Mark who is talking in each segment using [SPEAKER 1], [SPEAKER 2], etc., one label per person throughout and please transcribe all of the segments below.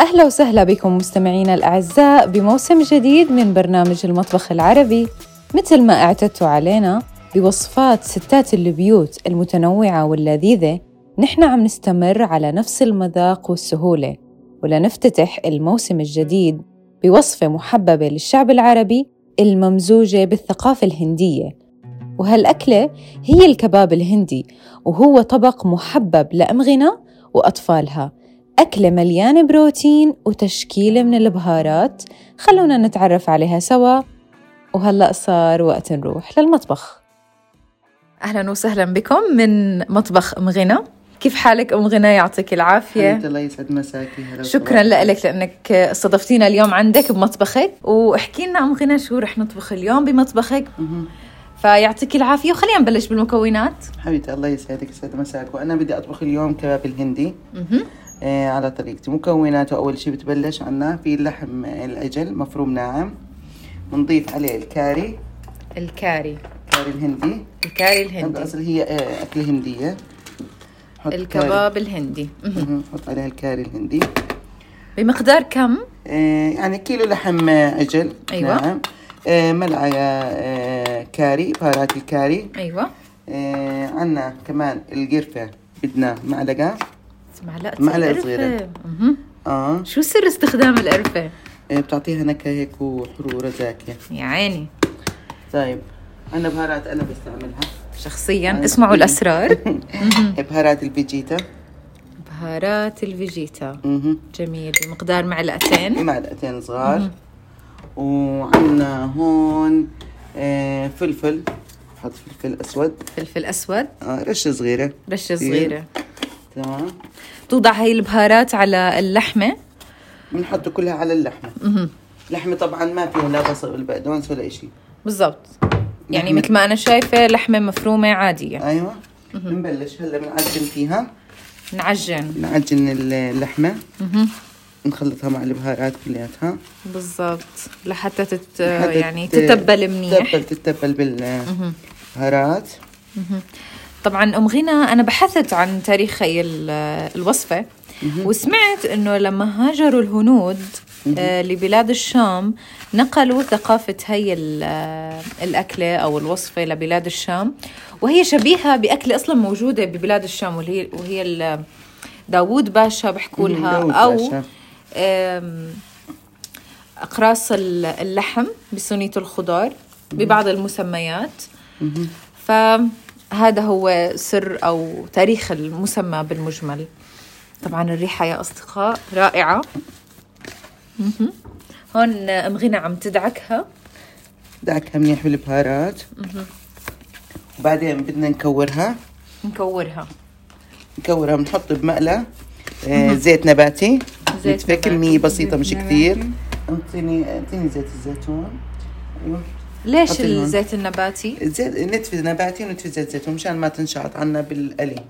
[SPEAKER 1] أهلا وسهلا بكم مستمعينا الأعزاء بموسم جديد من برنامج المطبخ العربي مثل ما اعتدتوا علينا بوصفات ستات البيوت المتنوعة واللذيذة نحن عم نستمر على نفس المذاق والسهولة ولنفتتح الموسم الجديد بوصفة محببة للشعب العربي الممزوجة بالثقافة الهندية وهالأكلة هي الكباب الهندي وهو طبق محبب لأمغنا وأطفالها أكلة مليانة بروتين وتشكيلة من البهارات خلونا نتعرف عليها سوا وهلأ صار وقت نروح للمطبخ أهلا وسهلا بكم من مطبخ أم غنى كيف حالك أم غنى يعطيك العافية
[SPEAKER 2] حبيبتي الله يسعد مساكي هلا
[SPEAKER 1] شكرا
[SPEAKER 2] وسهلا.
[SPEAKER 1] لك لأنك استضفتينا اليوم عندك بمطبخك واحكي لنا أم غنى شو رح نطبخ اليوم بمطبخك
[SPEAKER 2] مهم.
[SPEAKER 1] فيعطيك العافية وخلينا نبلش بالمكونات
[SPEAKER 2] حبيبتي الله يسعدك يسعد مساك وانا بدي اطبخ اليوم كباب الهندي
[SPEAKER 1] مهم.
[SPEAKER 2] آه على طريقتي مكوناته اول شيء بتبلش عنا في لحم الاجل مفروم ناعم بنضيف عليه الكاري
[SPEAKER 1] الكاري
[SPEAKER 2] كاري الهندي
[SPEAKER 1] الكاري
[SPEAKER 2] هذا
[SPEAKER 1] الهندي
[SPEAKER 2] اصل هي آه اكله هنديه نحط كاري.
[SPEAKER 1] الكباب الهندي مهم.
[SPEAKER 2] مهم. نحط عليها الكاري الهندي
[SPEAKER 1] بمقدار كم
[SPEAKER 2] آه يعني كيلو لحم آه، اجل
[SPEAKER 1] أيوة.
[SPEAKER 2] ناعم آه ملعقه آه كاري بهارات الكاري
[SPEAKER 1] ايوه
[SPEAKER 2] آه عنا كمان القرفه بدنا معلقه
[SPEAKER 1] معلقة
[SPEAKER 2] معلقة
[SPEAKER 1] القرفة.
[SPEAKER 2] صغيرة.
[SPEAKER 1] مهم.
[SPEAKER 2] اه
[SPEAKER 1] شو سر استخدام القرفة؟
[SPEAKER 2] إيه، بتعطيها نكهه هيك وحروره زاكيه
[SPEAKER 1] يا عيني
[SPEAKER 2] طيب انا بهارات انا بستعملها
[SPEAKER 1] شخصيا
[SPEAKER 2] عيني.
[SPEAKER 1] اسمعوا الأسرار
[SPEAKER 2] بهارات الفيجيتا
[SPEAKER 1] بهارات الفيجيتا
[SPEAKER 2] اها
[SPEAKER 1] جميل بمقدار معلقتين
[SPEAKER 2] معلقتين صغار وعندنا هون آه، فلفل حط فلفل اسود
[SPEAKER 1] فلفل أسود
[SPEAKER 2] آه، رشه صغيره
[SPEAKER 1] رشة
[SPEAKER 2] كتير.
[SPEAKER 1] صغيرة
[SPEAKER 2] تمام
[SPEAKER 1] توضع هاي البهارات على اللحمة
[SPEAKER 2] بنحط كلها على اللحمه
[SPEAKER 1] مهم.
[SPEAKER 2] اللحمه طبعا ما فيها لا بصل ولا بقدونس ولا شيء
[SPEAKER 1] بالضبط يعني
[SPEAKER 2] لحمة.
[SPEAKER 1] مثل ما أنا شايفة لحمة مفرومة عادية
[SPEAKER 2] ايوه بنبلش هلا بنعجن فيها
[SPEAKER 1] نعجن
[SPEAKER 2] نعجن اللحمه
[SPEAKER 1] مهم.
[SPEAKER 2] نخلطها مع البهارات كلياتها
[SPEAKER 1] بالضبط لحتى تت...
[SPEAKER 2] لحد
[SPEAKER 1] يعني
[SPEAKER 2] تت-
[SPEAKER 1] تتبل منيح
[SPEAKER 2] تتبل تتبل بالبهارات
[SPEAKER 1] طبعا ام غنى انا بحثت عن تاريخ هي ال- الوصفه وسمعت انه لما هاجروا الهنود آه، لبلاد الشام نقلوا ثقافة هي ال- آه، الأكلة أو الوصفة لبلاد الشام وهي شبيهة بأكلة أصلا موجودة ببلاد الشام وهي وهي ال- داوود باشا بحكوا
[SPEAKER 2] مم،
[SPEAKER 1] لها
[SPEAKER 2] داوود
[SPEAKER 1] أو
[SPEAKER 2] باشا.
[SPEAKER 1] آم، أقراص ال- اللحم بصينية الخضار ببعض المسميات فهذا هو سر أو تاريخ المسمى بالمجمل طبعا الريحة يا أصدقاء رائعة مهم. هون أم غنى عم تدعكها
[SPEAKER 2] دعكها منيح بالبهارات وبعدين بدنا نكورها
[SPEAKER 1] نكورها
[SPEAKER 2] نكورها بنحط بمقلة آه، زيت نباتي
[SPEAKER 1] زيت
[SPEAKER 2] زيت كمية
[SPEAKER 1] نباتي.
[SPEAKER 2] بسيطة مش
[SPEAKER 1] زيت
[SPEAKER 2] كثير اعطيني اعطيني زيت الزيتون ايوه
[SPEAKER 1] ليش
[SPEAKER 2] حطي هون.
[SPEAKER 1] الزيت النباتي؟
[SPEAKER 2] زيت نتفة نباتي ونتفة زيت زيتون مشان ما تنشعط عنا بالقلي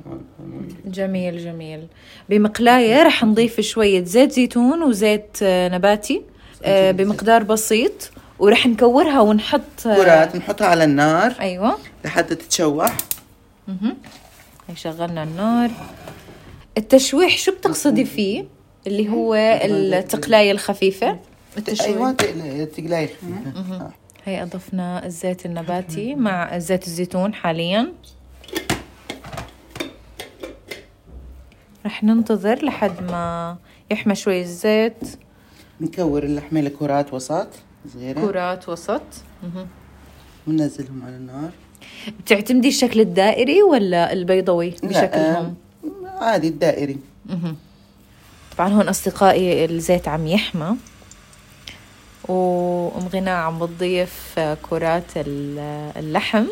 [SPEAKER 1] جميل جميل بمقلاية رح نضيف شوية زيت زيتون وزيت آه، نباتي آه، بمقدار بسيط ورح نكورها ونحط آه،
[SPEAKER 2] كرات نحطها على النار
[SPEAKER 1] أيوة
[SPEAKER 2] لحتى تتشوح
[SPEAKER 1] مهم. هي شغلنا النار التشويح شو بتقصدي فيه اللي هو التقلاية الخفيفة
[SPEAKER 2] ايوه
[SPEAKER 1] التشويح
[SPEAKER 2] تقلي تقلي آه.
[SPEAKER 1] هي أضفنا الزيت النباتي مع زيت الزيتون حاليا رح ننتظر لحد ما يحمى شوي الزيت
[SPEAKER 2] نكور اللحمة لكرات وسط صغيرة
[SPEAKER 1] كرات وسط مهم.
[SPEAKER 2] وننزلهم على النار
[SPEAKER 1] بتعتمدي الشكل الدائري ولا البيضوي بشكلهم
[SPEAKER 2] لا، آه، عادي الدائري
[SPEAKER 1] مهم. طبعا هون اصدقائي الزيت عم يحمى وام غنى عم بتضيف كرات ال- اللحم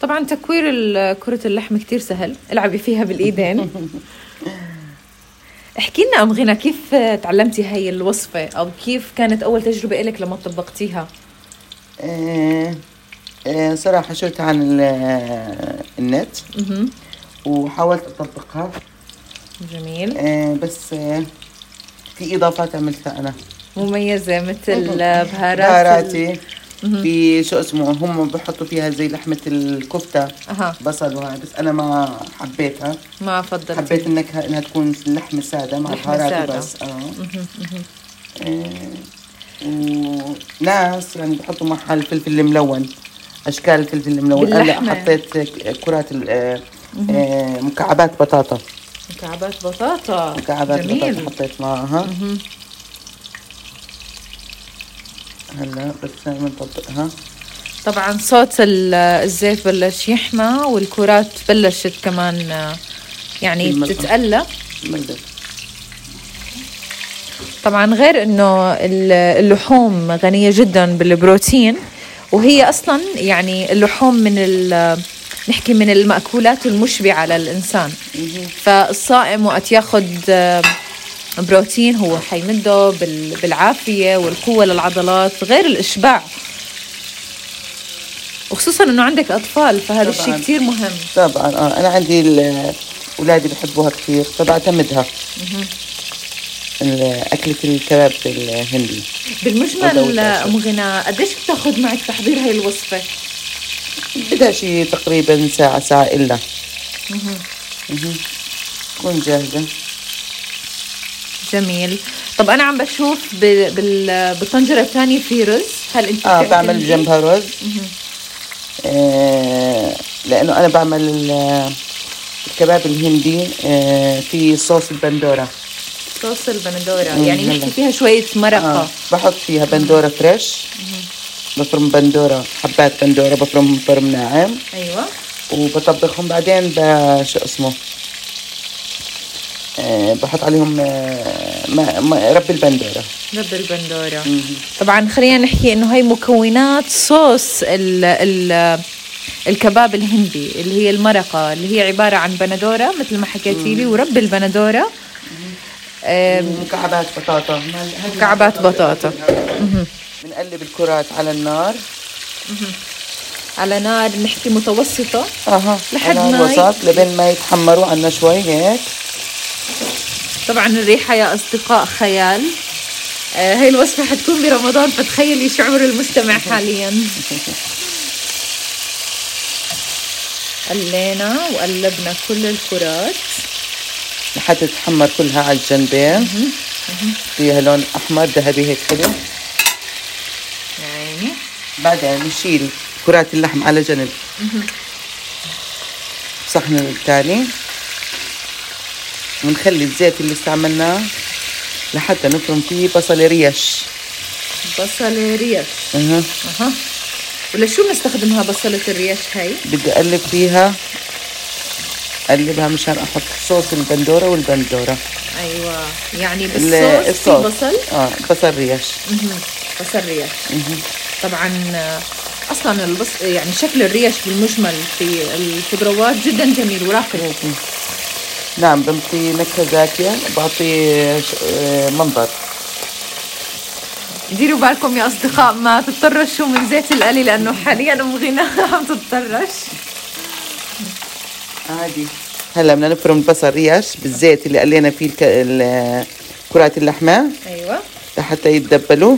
[SPEAKER 1] طبعا تكوير ال- كرة اللحم كتير سهل العبي فيها بالايدين احكي لنا ام غنى كيف تعلمتي هاي الوصفة او كيف كانت اول تجربة لك لما طبقتيها
[SPEAKER 2] آه، آه، صراحة شلت عن ال- آه، النت
[SPEAKER 1] مهم.
[SPEAKER 2] وحاولت أطبقها
[SPEAKER 1] جميل
[SPEAKER 2] آه، بس آه، في إضافات عملتها أنا
[SPEAKER 1] مميزة مثل بهارات ال-
[SPEAKER 2] بهاراتي في شو اسمه هم بحطوا فيها زي لحمة الكفتة
[SPEAKER 1] أها.
[SPEAKER 2] بصل وهاي بس أنا ما حبيتها
[SPEAKER 1] ما فضلت
[SPEAKER 2] حبيت النكهة إنها تكون لحمة سادة مع
[SPEAKER 1] لحمة
[SPEAKER 2] بهارات
[SPEAKER 1] سادة.
[SPEAKER 2] بس آه آه، وناس يعني بحطوا معها الفلفل الملون أشكال الفلفل الملون أنا
[SPEAKER 1] باللحمة.
[SPEAKER 2] حطيت كرات ال- آه، آه، مكعبات بطاطا
[SPEAKER 1] مكعبات بطاطا
[SPEAKER 2] مكعبات بطاطا
[SPEAKER 1] جميل
[SPEAKER 2] حطيت معها هلا بس بنطبقها
[SPEAKER 1] طبعا صوت ال- الزيت بلش يحمى والكرات بلشت كمان آه، يعني
[SPEAKER 2] بالملح.
[SPEAKER 1] تتقلى
[SPEAKER 2] بنقدر
[SPEAKER 1] طبعا غير انه ال- اللحوم غنية جدا بالبروتين وهي اصلا يعني اللحوم من ال- نحكي من المأكولات المشبعة للإنسان فالصائم وقت ياخد آه، بروتين هو حيمده بال- بالعافية والقوة للعضلات غير الإشباع وخصوصا انه عندك اطفال فهذا الشيء
[SPEAKER 2] طبعاً.
[SPEAKER 1] كثير مهم
[SPEAKER 2] طبعا اه انا عندي ال- اولادي بحبوها كثير فبعتمدها ال- اكله الكباب الهندي
[SPEAKER 1] بالمجمل
[SPEAKER 2] وضوء
[SPEAKER 1] آه، ام غنى قديش بتاخذ معك تحضير هاي الوصفه؟
[SPEAKER 2] بدها شي تقريبا ساعه ساعه الا مهم. تكون جاهزه
[SPEAKER 1] جميل طب انا عم بشوف ب... بال... بالطنجره الثانيه في رز هل انت
[SPEAKER 2] اه
[SPEAKER 1] بتعمل
[SPEAKER 2] بعمل
[SPEAKER 1] رز؟
[SPEAKER 2] جنبها رز آه لانه انا بعمل ال- الكباب الهندي آه في صوص البندوره
[SPEAKER 1] صوص البندوره يعني
[SPEAKER 2] مم،
[SPEAKER 1] نحكي
[SPEAKER 2] هلا.
[SPEAKER 1] فيها شويه مرقه
[SPEAKER 2] آه بحط فيها بندوره فريش بفرم بندوره حبات بندوره بفرم فرم ناعم
[SPEAKER 1] ايوه
[SPEAKER 2] وبطبخهم بعدين ب- شو اسمه آه، بحط عليهم آه، ما- ما- رب البندوره
[SPEAKER 1] رب البندوره طبعا خلينا نحكي انه هي مكونات صوص ال... ال... الكباب الهندي اللي هي المرقه اللي هي عباره عن بندوره مثل ما حكيتي لي ورب البندوره آه،
[SPEAKER 2] مكعبات بطاطا هذه
[SPEAKER 1] مكعبات بطاطا
[SPEAKER 2] بنقلب الكرات على النار
[SPEAKER 1] على نار نحكي متوسطه
[SPEAKER 2] اها
[SPEAKER 1] لحد
[SPEAKER 2] على
[SPEAKER 1] ما ي-
[SPEAKER 2] الوسط لبين ما يتحمروا عنا شوي هيك
[SPEAKER 1] طبعا الريحة يا أصدقاء خيال آه، هاي الوصفة حتكون برمضان فتخيلي شعور المستمع حاليا قلينا وقلبنا كل الكرات
[SPEAKER 2] لحتى تتحمر كلها على الجنبين فيها لون احمر ذهبي هيك حلو
[SPEAKER 1] يا عيني
[SPEAKER 2] بعدين نشيل كرات اللحم على جنب صحن الثاني ونخلي الزيت اللي استعملناه لحتى نفرم فيه بصل ريش
[SPEAKER 1] بصلة ريش
[SPEAKER 2] أه.
[SPEAKER 1] أها ولشو بنستخدمها بصلة الريش هاي؟
[SPEAKER 2] بدي اقلب فيها اقلبها مشان احط صوص البندوره والبندوره
[SPEAKER 1] أيوة يعني
[SPEAKER 2] ال-
[SPEAKER 1] بالصوص في بصل
[SPEAKER 2] اه بصل ريش
[SPEAKER 1] مهم. بصل ريش طبعا آه، اصلا البص... يعني شكل الريش بالمجمل في الخضروات جدا جميل وراقي
[SPEAKER 2] نعم بنطي نكهه زاكيه بعطي ش- آه، منظر
[SPEAKER 1] ديروا بالكم يا اصدقاء ما تتطرشوا من زيت القلي لانه حاليا ام غنى عم تتطرش
[SPEAKER 2] عادي هلا بدنا نفرم البصل ريش بالزيت اللي قلينا فيه الك... ال- كرات اللحمه
[SPEAKER 1] ايوه
[SPEAKER 2] لحتى يتدبلوا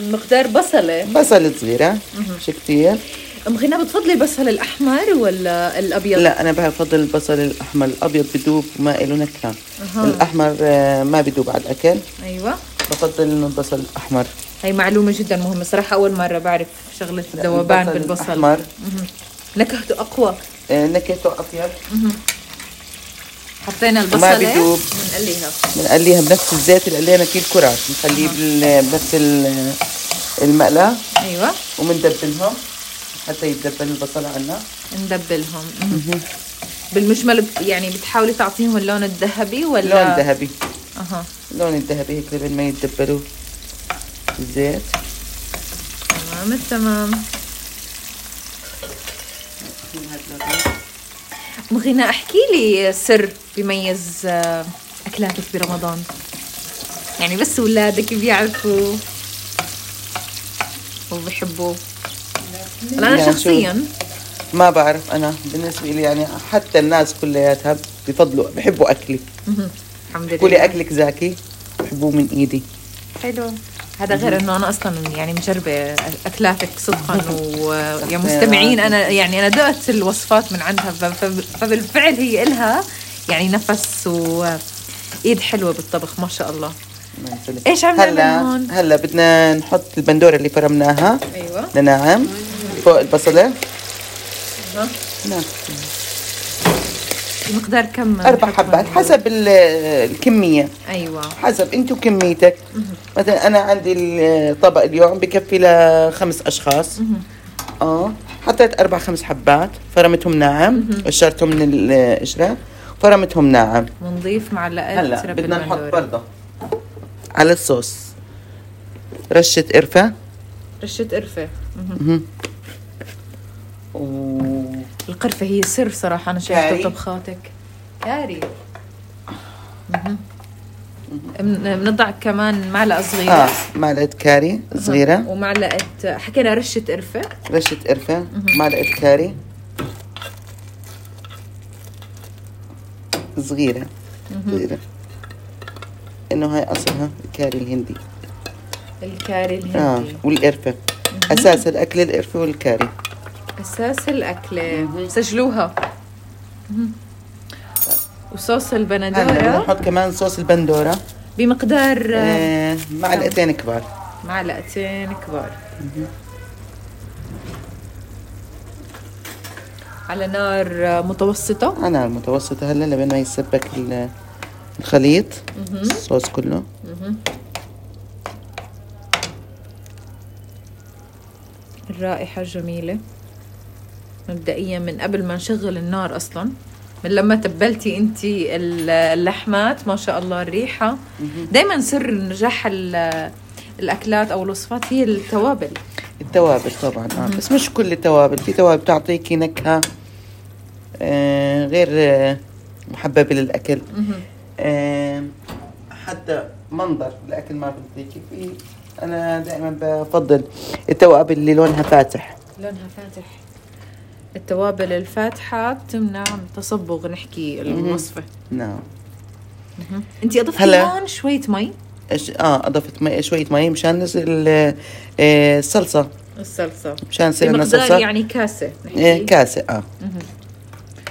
[SPEAKER 1] مقدار بصله
[SPEAKER 2] بصل صغيره مش كثير
[SPEAKER 1] ام غنى بتفضلي البصل الاحمر ولا الابيض
[SPEAKER 2] لا انا بفضل البصل الاحمر الابيض بدوب ما له نكهه الاحمر آه، ما بدوب على الاكل
[SPEAKER 1] ايوه
[SPEAKER 2] بفضل انه البصل الاحمر
[SPEAKER 1] هي معلومه جدا مهمه صراحه اول مره بعرف شغله الذوبان
[SPEAKER 2] البصل
[SPEAKER 1] بالبصل
[SPEAKER 2] الاحمر
[SPEAKER 1] نكهته اقوى
[SPEAKER 2] آه، نكهته ابيض
[SPEAKER 1] حطينا
[SPEAKER 2] وما
[SPEAKER 1] البصله
[SPEAKER 2] بدوب.
[SPEAKER 1] بنقليها
[SPEAKER 2] بنقليها بنفس الزيت اللي قلينا فيه الكرات بنخليه بال- بنفس ال- المقلاه
[SPEAKER 1] ايوه
[SPEAKER 2] ومندبلهم حتى يتدبل البصل عنا
[SPEAKER 1] ندبلهم بالمجمل بت- يعني بتحاولي تعطيهم اللون الذهبي ولا
[SPEAKER 2] لون ذهبي
[SPEAKER 1] اها
[SPEAKER 2] اللون الذهبي هيك لبين ما يتدبلوا الزيت
[SPEAKER 1] تمام التمام أم غنى احكي لي سر بيميز آه، اكلاتك برمضان يعني بس اولادك بيعرفوا وبحبوا هلا انا
[SPEAKER 2] يعني شو-
[SPEAKER 1] شخصيا
[SPEAKER 2] ما بعرف انا بالنسبه لي يعني حتى الناس كلياتها بفضلوا بحبوا اكلي
[SPEAKER 1] مهم. الحمد لله
[SPEAKER 2] كلي اكلك زاكي بحبوه من ايدي
[SPEAKER 1] حلو هذا غير انه انا اصلا يعني مجربه اكلاتك صدقا ويا مستمعين انا يعني انا دقت الوصفات من عندها ف- ف- فبالفعل هي إلها يعني نفس وايد حلوه بالطبخ ما شاء الله
[SPEAKER 2] ما يسلمك.
[SPEAKER 1] إيش عم نعمل
[SPEAKER 2] هلا
[SPEAKER 1] هون؟
[SPEAKER 2] هلا بدنا نحط البندوره اللي فرمناها
[SPEAKER 1] أيوة.
[SPEAKER 2] لناعم نعم. فوق البصله
[SPEAKER 1] أها.
[SPEAKER 2] نعم.
[SPEAKER 1] مقدار كم
[SPEAKER 2] اربع
[SPEAKER 1] نحط
[SPEAKER 2] حبات
[SPEAKER 1] من-
[SPEAKER 2] حسب ال- الكميه
[SPEAKER 1] ايوه
[SPEAKER 2] حسب انت وكميتك مثلا انا عندي الطبق اليوم بكفي لخمس اشخاص اه حطيت اربع خمس حبات فرمتهم ناعم قشرتهم من القشره فرمتهم ناعم
[SPEAKER 1] ونضيف معلقات
[SPEAKER 2] هلا
[SPEAKER 1] رب
[SPEAKER 2] بدنا نحط
[SPEAKER 1] البندورة.
[SPEAKER 2] برضه على الصوص رشه قرفه
[SPEAKER 1] رشه قرفه مهم.
[SPEAKER 2] وكاري
[SPEAKER 1] القرفه هي سر صراحه انا شايفه
[SPEAKER 2] كاري.
[SPEAKER 1] طبخاتك كاري مهم. من- بنضع كمان معلقه صغيره
[SPEAKER 2] اه معلقه كاري صغيره
[SPEAKER 1] ومعلقه حكينا رشه قرفه
[SPEAKER 2] رشة قرفة معلقة كاري صغيرة صغيرة انه هاي اصلها الكاري الهندي
[SPEAKER 1] الكاري
[SPEAKER 2] اه
[SPEAKER 1] الهندي
[SPEAKER 2] والقرفة اساس الاكل القرفة والكاري
[SPEAKER 1] اساس الاكله سجلوها مهم. وصوص
[SPEAKER 2] هلا بدنا
[SPEAKER 1] البندوره
[SPEAKER 2] نحط كمان صوص البندورة
[SPEAKER 1] بمقدار آه،
[SPEAKER 2] آه معلقتين كبار
[SPEAKER 1] معلقتين كبار على نار آه، متوسطه
[SPEAKER 2] على نار متوسطة هلا لبين ما يسبك ال- الخليط الصوص كله
[SPEAKER 1] الرائحة جميلة مبدئيا من قبل ما نشغل النار أصلا من لما تبلتي انت ال- اللحمات ما شاء الله الريحة دايما سر نجاح ال- الأكلات أو الوصفات هي التوابل
[SPEAKER 2] التوابل طبعا آه. بس مش كل التوابل في توابل بتعطيكي نكهه آه غير آه محببه للاكل آه حتى منظر الاكل ما بتعطيكي في انا دائما بفضل التوابل اللي لونها فاتح
[SPEAKER 1] لونها فاتح التوابل الفاتحة بتمنع من تصبغ نحكي الوصفة
[SPEAKER 2] نعم
[SPEAKER 1] انت أضفتي
[SPEAKER 2] هلا.
[SPEAKER 1] هون شوية مي
[SPEAKER 2] إيش- اه اضفت مي شويه مي مشان نزل آه، آه، الصلصه
[SPEAKER 1] الصلصة
[SPEAKER 2] مشان يصير عندنا صلصه
[SPEAKER 1] بمقدار يعني كاسة
[SPEAKER 2] آه
[SPEAKER 1] نحكي
[SPEAKER 2] كاسه اه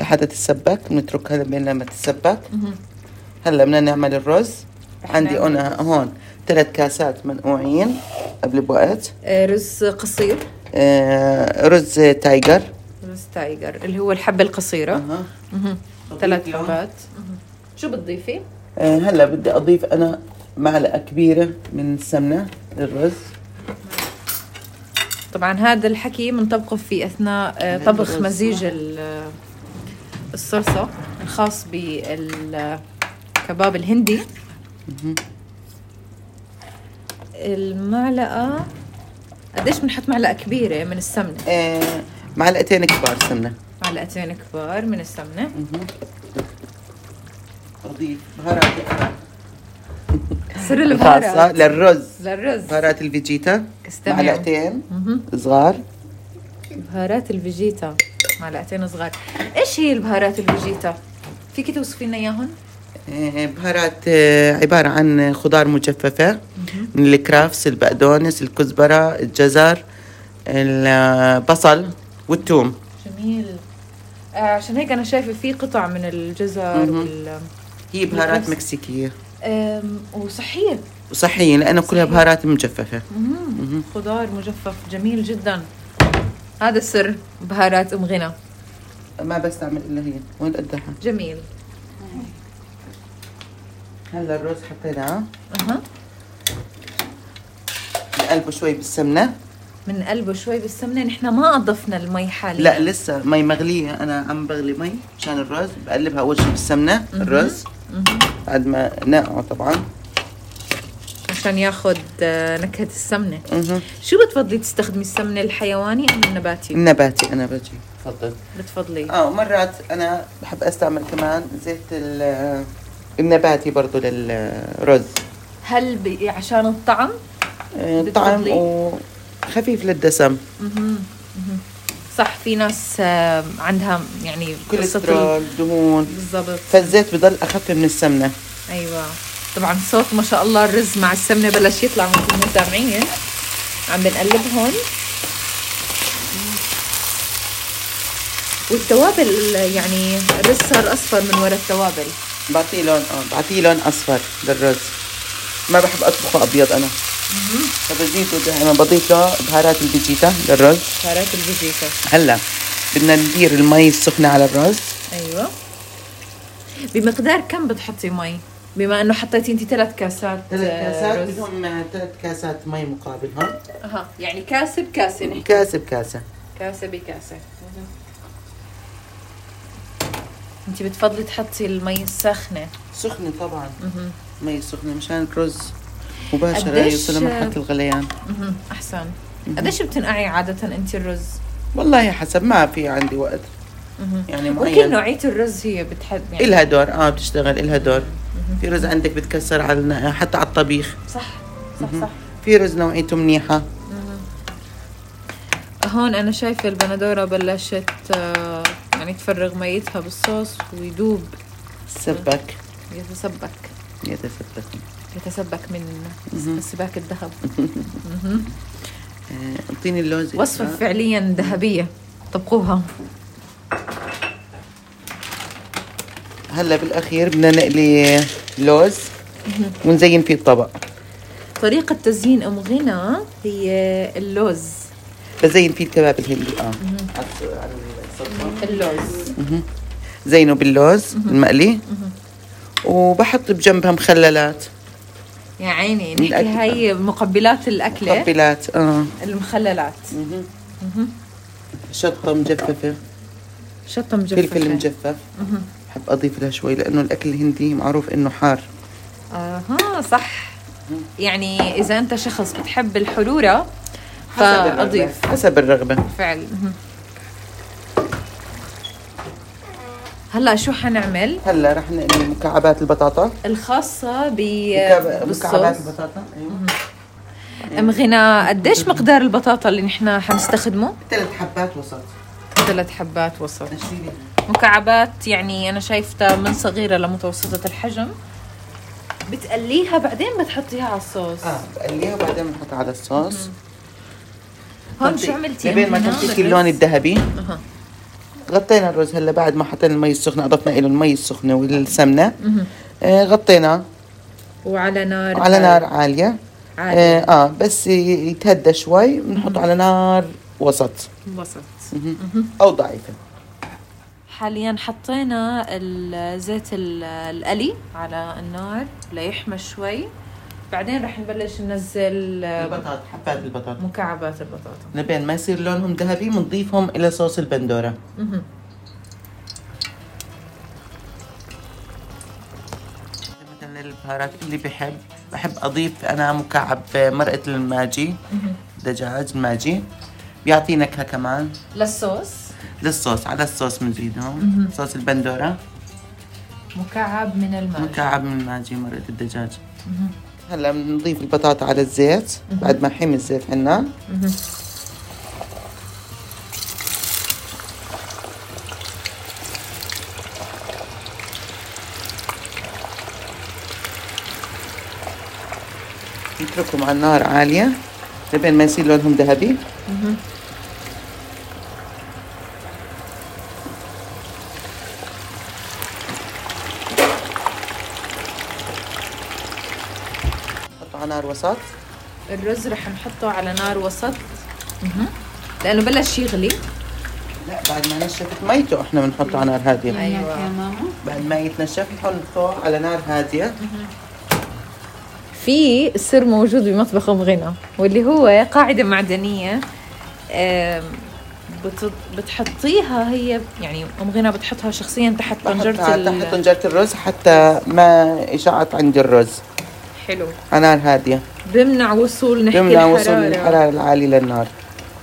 [SPEAKER 2] لحتى تتسبك بنتركها لبين لما تتسبك هلا بدنا نعمل الرز عندي
[SPEAKER 1] نعمل
[SPEAKER 2] انا هون ثلاث كاسات منقوعين قبل بوقت
[SPEAKER 1] آه، رز قصير
[SPEAKER 2] آه رز تايجر
[SPEAKER 1] رز تايجر اللي هو الحبة القصيرة
[SPEAKER 2] أها.
[SPEAKER 1] مهم. ثلاث
[SPEAKER 2] لهم.
[SPEAKER 1] حبات مهم. شو بتضيفي؟
[SPEAKER 2] آه هلا بدي اضيف انا معلقه كبيره من السمنه للرز
[SPEAKER 1] طبعا هذا الحكي بنطبقه في اثناء آه،
[SPEAKER 2] من
[SPEAKER 1] طبخ
[SPEAKER 2] الرز.
[SPEAKER 1] مزيج ال- آه، الصلصة الخاص بالكباب الهندي المعلقة قديش بنحط معلقة كبيرة من السمنة
[SPEAKER 2] آه معلقتين كبار سمنه
[SPEAKER 1] معلقتين كبار من السمنة
[SPEAKER 2] اضيف بهاراتي أنا
[SPEAKER 1] سر
[SPEAKER 2] الخاصه
[SPEAKER 1] البهارات
[SPEAKER 2] للرز
[SPEAKER 1] للرز
[SPEAKER 2] بهارات الفيجيتا
[SPEAKER 1] استمعوا.
[SPEAKER 2] معلقتين
[SPEAKER 1] مهم.
[SPEAKER 2] صغار
[SPEAKER 1] بهارات الفيجيتا معلقتين صغار ايش هي البهارات الفيجيتا فيكي توصفي لنا اياهم
[SPEAKER 2] آه، بهارات آه، عبارة عن خضار مجففة من الكرافس البقدونس الكزبرة الجزر البصل والثوم
[SPEAKER 1] جميل آه، عشان هيك انا شايفه في قطع من الجزر وال
[SPEAKER 2] هي بهارات
[SPEAKER 1] الكرفس.
[SPEAKER 2] مكسيكية
[SPEAKER 1] آم، وصحيه
[SPEAKER 2] وصحية لأنه كلها بهارات مجففة
[SPEAKER 1] مم. خضار مجفف جميل جدا هذا سر بهارات ام غنى
[SPEAKER 2] ما بستعمل إلا هي وين قدها
[SPEAKER 1] جميل
[SPEAKER 2] هلا الرز حطيناه
[SPEAKER 1] اها
[SPEAKER 2] نقلبه شوي بالسمنة
[SPEAKER 1] من قلبه شوي بالسمنه نحن ما اضفنا المي حاليا
[SPEAKER 2] لا لسه مي مغلية أنا عم بغلي مي مشان الرز بقلبها أول شي بالسمنة الرز بعد ما نقعه طبعا
[SPEAKER 1] عشان ياخذ آه، نكهه السمنه
[SPEAKER 2] مهم.
[SPEAKER 1] شو بتفضلي تستخدمي السمنه الحيواني ام النباتي
[SPEAKER 2] النباتي أنا بجي تفضل
[SPEAKER 1] بتفضلي
[SPEAKER 2] اه مرات انا بحب استعمل كمان زيت ال- النباتي برضو للرز
[SPEAKER 1] هل ب... عشان الطعم
[SPEAKER 2] آه، طعم
[SPEAKER 1] بتفضليه؟
[SPEAKER 2] وخفيف للدسم
[SPEAKER 1] صح في ناس آه، عندها يعني قصة ال-
[SPEAKER 2] كوليسترول دهون
[SPEAKER 1] بالضبط
[SPEAKER 2] فالزيت بضل اخف من السمنه
[SPEAKER 1] ايوه طبعا صوت ما شاء الله الرز مع السمنه بلش يطلع مثل ما سامعين عم بنقلبهم والتوابل يعني الرز صار اصفر من ورا التوابل
[SPEAKER 2] بعطيه لون اه بعطيه لون اصفر للرز ما بحب اطبخه ابيض انا فبزيته دائما بضيف له بهارات الفيجيتا للرز
[SPEAKER 1] بهارات الفيجيتا
[SPEAKER 2] هلا بدنا ندير المي السخنه على الرز
[SPEAKER 1] ايوه بمقدار كم بتحطي مي بما انه حطيتي انت ثلاث كاسات
[SPEAKER 2] ثلاث
[SPEAKER 1] آه،
[SPEAKER 2] كاسات
[SPEAKER 1] رز.
[SPEAKER 2] بدهم ثلاث كاسات مي مقابل هون
[SPEAKER 1] اها يعني كاسه بكاسه نحكي
[SPEAKER 2] كاسه بكاسه
[SPEAKER 1] كاسه بكاسه انت بتفضلي تحطي المي السخنه
[SPEAKER 2] سخنه طبعا
[SPEAKER 1] مهم.
[SPEAKER 2] مي سخنه مشان الرز مباشره
[SPEAKER 1] قديش-
[SPEAKER 2] يوصل لمرحله الغليان
[SPEAKER 1] مهم. احسن قديش بتنقعي عاده انت الرز
[SPEAKER 2] والله حسب ما في عندي وقت
[SPEAKER 1] مهم.
[SPEAKER 2] يعني
[SPEAKER 1] وكل
[SPEAKER 2] معين
[SPEAKER 1] نوعيه الرز هي بتحب يعني
[SPEAKER 2] إلها دور اه بتشتغل إلها دور في رز عندك بتكسر على النا- حتى على الطبيخ
[SPEAKER 1] صح صح صح
[SPEAKER 2] في رز نوعيته منيحه
[SPEAKER 1] هون انا شايفه البندوره بلشت آه، يعني تفرغ ميتها بالصوص ويدوب
[SPEAKER 2] سبك
[SPEAKER 1] يتسبك
[SPEAKER 2] يتسبك
[SPEAKER 1] يتسبك من سباك الذهب
[SPEAKER 2] آه، اعطيني اللوز
[SPEAKER 1] وصفة
[SPEAKER 2] إسراء.
[SPEAKER 1] فعليا ذهبية طبقوها
[SPEAKER 2] هلا بالاخير بدنا نقلي لوز ونزين فيه الطبق
[SPEAKER 1] طريقة تزيين أم غنى هي اللوز
[SPEAKER 2] بزين فيه الكباب الهندي اه على- على الصلصة.
[SPEAKER 1] اللوز
[SPEAKER 2] زينه باللوز المقلي وبحط بجنبها مخللات
[SPEAKER 1] يا عيني نحكي
[SPEAKER 2] الأكل.
[SPEAKER 1] هاي مقبلات الأكلة
[SPEAKER 2] مقبلات اه
[SPEAKER 1] المخللات
[SPEAKER 2] شطه مجففه
[SPEAKER 1] شطة مجففة
[SPEAKER 2] فلفل مجفف بحب اضيف لها شوي لانه الاكل الهندي معروف انه حار
[SPEAKER 1] اها صح يعني إذا أنت شخص بتحب الحرورة
[SPEAKER 2] حسب الرغبة.
[SPEAKER 1] فأضيف
[SPEAKER 2] حسب الرغبه
[SPEAKER 1] فعل مهم. هلا شو حنعمل؟
[SPEAKER 2] هلا رح نقلي مكعبات البطاطا
[SPEAKER 1] الخاصة ب
[SPEAKER 2] مكعب- مكعبات
[SPEAKER 1] بالصوص
[SPEAKER 2] البطاطا ايوه
[SPEAKER 1] ام غنى قديش مقدار البطاطا اللي نحن حنستخدمه؟
[SPEAKER 2] ثلاث حبات وسط
[SPEAKER 1] ثلاث حبات وسط
[SPEAKER 2] نشيلي
[SPEAKER 1] مكعبات يعني انا شايفتها من صغيره لمتوسطه الحجم بتقليها بعدين بتحطيها على الصوص
[SPEAKER 2] اه بقليها وبعدين بنحطها على الصوص
[SPEAKER 1] هون شو عملتي
[SPEAKER 2] قبل طيب. ما
[SPEAKER 1] أم غنى
[SPEAKER 2] تمسكي
[SPEAKER 1] بالرز؟
[SPEAKER 2] اللون الذهبي
[SPEAKER 1] أها.
[SPEAKER 2] غطينا الرز هلا بعد ما حطينا المي السخنه اضفنا له المي السخنه والسمنه آه غطينا
[SPEAKER 1] وعلى نار
[SPEAKER 2] على نار عاليه
[SPEAKER 1] عالية.
[SPEAKER 2] آه, اه بس ي- يتهدى شوي بنحطه على نار وسط
[SPEAKER 1] وسط
[SPEAKER 2] او ضعيفه
[SPEAKER 1] حاليا حطينا ال- زيت ال- القلي على النار ليحمى شوي بعدين رح نبلش ننزل
[SPEAKER 2] البطاطا آه، حبات البطاطا
[SPEAKER 1] مكعبات البطاطا
[SPEAKER 2] لبين ما يصير لونهم ذهبي بنضيفهم الى صوص البندوره
[SPEAKER 1] مهم.
[SPEAKER 2] مثلا البهارات اللي بحب بحب اضيف انا مكعب مرقه الماجي دجاج الماجي بيعطي نكهه كمان
[SPEAKER 1] للصوص
[SPEAKER 2] للصوص على الصوص بنزيدهم صوص البندوره
[SPEAKER 1] مكعب من الماء
[SPEAKER 2] مكعب من الماجي مرقه الدجاج هلا بنضيف البطاطا على الزيت بعد ما حمي الزيت عنا نتركهم على النار عالية لبين ما يصير لونهم ذهبي حطوا على نار وسط
[SPEAKER 1] الرز رح نحطه على نار وسط لانه بلش يغلي
[SPEAKER 2] لا بعد ما نشفت ميته احنا بنحطه على نار هادية
[SPEAKER 1] ايوه
[SPEAKER 2] بعد ما يتنشف نحطه على نار هادية
[SPEAKER 1] في سر موجود بمطبخ ام غنى واللي هو قاعده معدنيه آم، بت- بتحطيها هي يعني ام غنى بتحطها شخصيا تحت
[SPEAKER 2] بحطها
[SPEAKER 1] طنجره
[SPEAKER 2] على تحت
[SPEAKER 1] ال-
[SPEAKER 2] طنجرة الرز حتى ما يشعط عندي الرز
[SPEAKER 1] حلو
[SPEAKER 2] على نار هادية
[SPEAKER 1] بمنع وصول نحكي
[SPEAKER 2] بمنع
[SPEAKER 1] الحراره
[SPEAKER 2] وصول الحرارة العالية للنار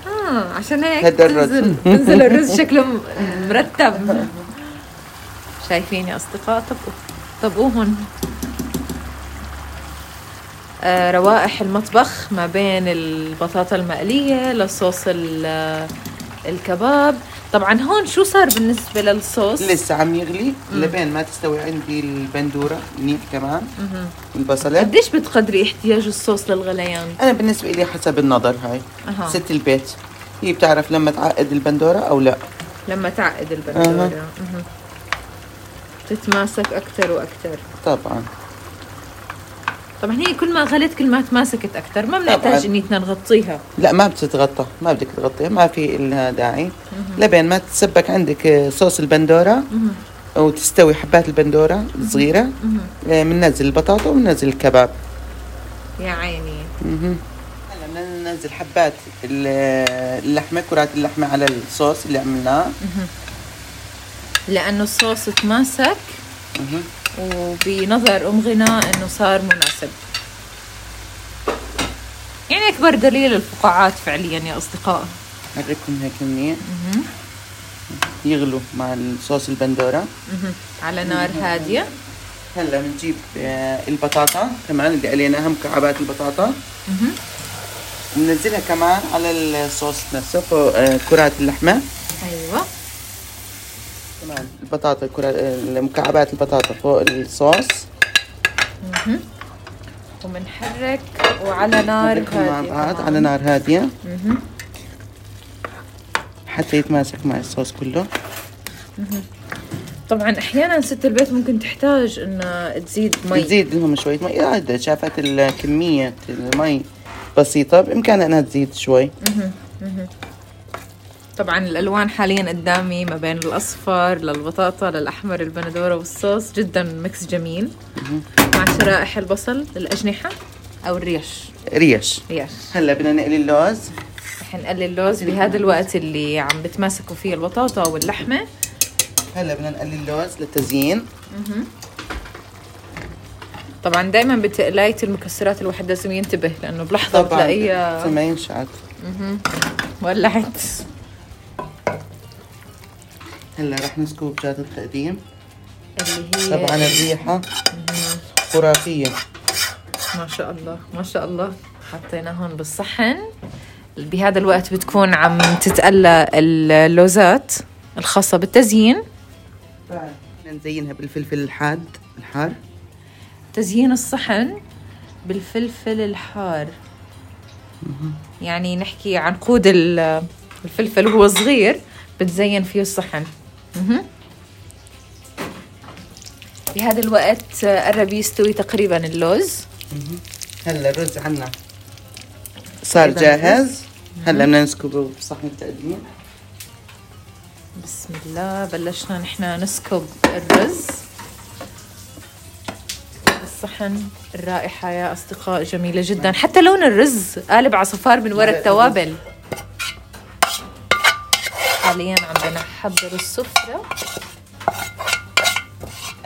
[SPEAKER 1] آه عشان هيك
[SPEAKER 2] هدا الرز.
[SPEAKER 1] بتنزل بنزل الرز شكله م- مرتب شايفين يا اصدقاء طبقوا طبقوهن آه روائح المطبخ ما بين البطاطا المقلية لصوص ال- آه، الكباب طبعا هون شو صار بالنسبه للصوص
[SPEAKER 2] لسه عم يغلي لبين ما تستوي عندي البندوره منيح كمان والبصلات
[SPEAKER 1] قديش بتقدري احتياج الصوص للغليان
[SPEAKER 2] انا بالنسبه لي حسب النظر هاي
[SPEAKER 1] أها.
[SPEAKER 2] ست البيت هي بتعرف لما تعقد البندوره او لا
[SPEAKER 1] لما تعقد البندوره مهم. تتماسك اكثر واكثر
[SPEAKER 2] طبعا
[SPEAKER 1] طبعا هي كل ما غلت كل ما تماسكت اكثر ما بنحتاج
[SPEAKER 2] طبعاً.
[SPEAKER 1] انيتنا نغطيها
[SPEAKER 2] لا ما بتتغطى ما بدك تغطيها ما في إلها داعي لبين ما تسبك عندك آه، صوص البندوره وتستوي حبات البندوره الصغيره
[SPEAKER 1] مهم.
[SPEAKER 2] بننزل البطاطا وبننزل الكباب
[SPEAKER 1] يا عيني
[SPEAKER 2] مهم. هلا بدنا ننزل حبات ال- اللحمه كرات اللحمه على الصوص اللي عملناه
[SPEAKER 1] لانه الصوص تماسك
[SPEAKER 2] مهم.
[SPEAKER 1] وبنظر ام غناء انه صار مناسب يعني اكبر دليل الفقاعات فعليا يا اصدقاء
[SPEAKER 2] أوريكم هيك منيح يغلوا مع الصوص البندوره
[SPEAKER 1] مهم. على نار هاديه
[SPEAKER 2] هلا بنجيب آه، البطاطا كمان اللي علينا هم مكعبات البطاطا وننزلها كمان على الصوص نفسه فوق آه، كرات اللحمه
[SPEAKER 1] ايوه
[SPEAKER 2] كمان البطاطا كرات آه، مكعبات البطاطا فوق الصوص
[SPEAKER 1] ومنحرك وعلى نار
[SPEAKER 2] نحركهم مع
[SPEAKER 1] هاديه
[SPEAKER 2] بعض
[SPEAKER 1] كمان.
[SPEAKER 2] على نار هاديه حتى يتماسك مع الصوص كله
[SPEAKER 1] طبعا احيانا ست البيت ممكن تحتاج انها تزيد مي
[SPEAKER 2] بتزيد لهم شويه مي عاد شافت الكميه المي بسيطه بامكانها انها تزيد شوي
[SPEAKER 1] طبعا الالوان حاليا قدامي ما بين الاصفر للبطاطا للاحمر البندوره والصوص جدا ميكس جميل مع شرائح البصل الاجنحه او الريش
[SPEAKER 2] ريش
[SPEAKER 1] ريش
[SPEAKER 2] هلا بدنا نقلي اللوز
[SPEAKER 1] رح نقلي اللوز بهذا الوقت اللي عم بتماسكوا فيه البطاطا واللحمه
[SPEAKER 2] هلا بدنا نقلي اللوز للتزيين
[SPEAKER 1] طبعا دائما بتقلايه المكسرات الواحد لازم ينتبه لانه بلحظه بتلاقيها
[SPEAKER 2] ما ينشعت
[SPEAKER 1] ولعت
[SPEAKER 2] هلا رح نسكب جات التقديم
[SPEAKER 1] اللي هي
[SPEAKER 2] طبعا الريحه خرافيه
[SPEAKER 1] ما شاء الله ما شاء الله حطينا هون بالصحن بهذا الوقت بتكون عم تتقلى اللوزات الخاصة بالتزيين طيب.
[SPEAKER 2] بدنا نزينها بالفلفل الحاد الحار
[SPEAKER 1] تزيين الصحن بالفلفل الحار يعني نحكي عنقود ال- الفلفل هو صغير بتزين فيه الصحن مهم. بهذا الوقت قرب يستوي تقريبا اللوز
[SPEAKER 2] هلا الرز عنا صار جاهز هلا بدنا نسكبه بصحن التقديم
[SPEAKER 1] بسم الله بلشنا نحن نسكب الرز الصحن الرائحة يا أصدقاء جميلة جدا حتى لون الرز قالب عصفار من وراء التوابل حاليا عم بنحضر السفرة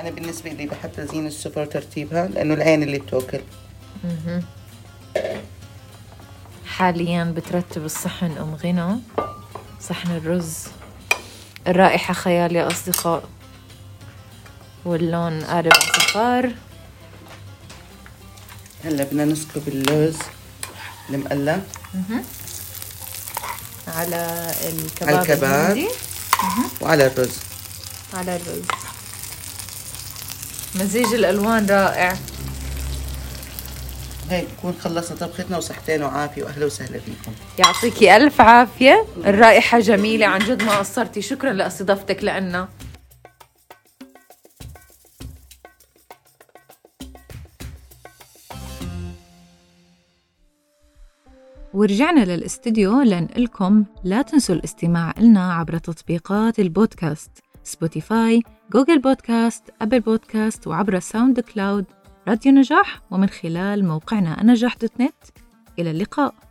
[SPEAKER 2] انا بالنسبه لي بحب تزيين السفرة ترتيبها لانه العين اللي بتاكل
[SPEAKER 1] حاليا بترتب الصحن أم غنى صحن الرز الرائحة خيال يا أصدقاء واللون قالب عصفار
[SPEAKER 2] هلا بدنا نسكب اللوز المقلى
[SPEAKER 1] على الكباب
[SPEAKER 2] على الكباب.
[SPEAKER 1] الهندي.
[SPEAKER 2] وعلى الرز
[SPEAKER 1] على الرز مزيج الالوان رائع
[SPEAKER 2] هيك بكون خلصنا طبختنا وصحتين وعافيه واهلا وسهلا فيكم
[SPEAKER 1] يعطيكي الف عافيه الرائحه جميله عن جد ما قصرتي شكرا لاستضافتك لنا ورجعنا للاستديو لنقلكم لا تنسوا الاستماع لنا عبر تطبيقات البودكاست سبوتيفاي، جوجل بودكاست، أبل بودكاست وعبر ساوند كلاود راديو نجاح ومن خلال موقعنا نجاح دوت نت إلى اللقاء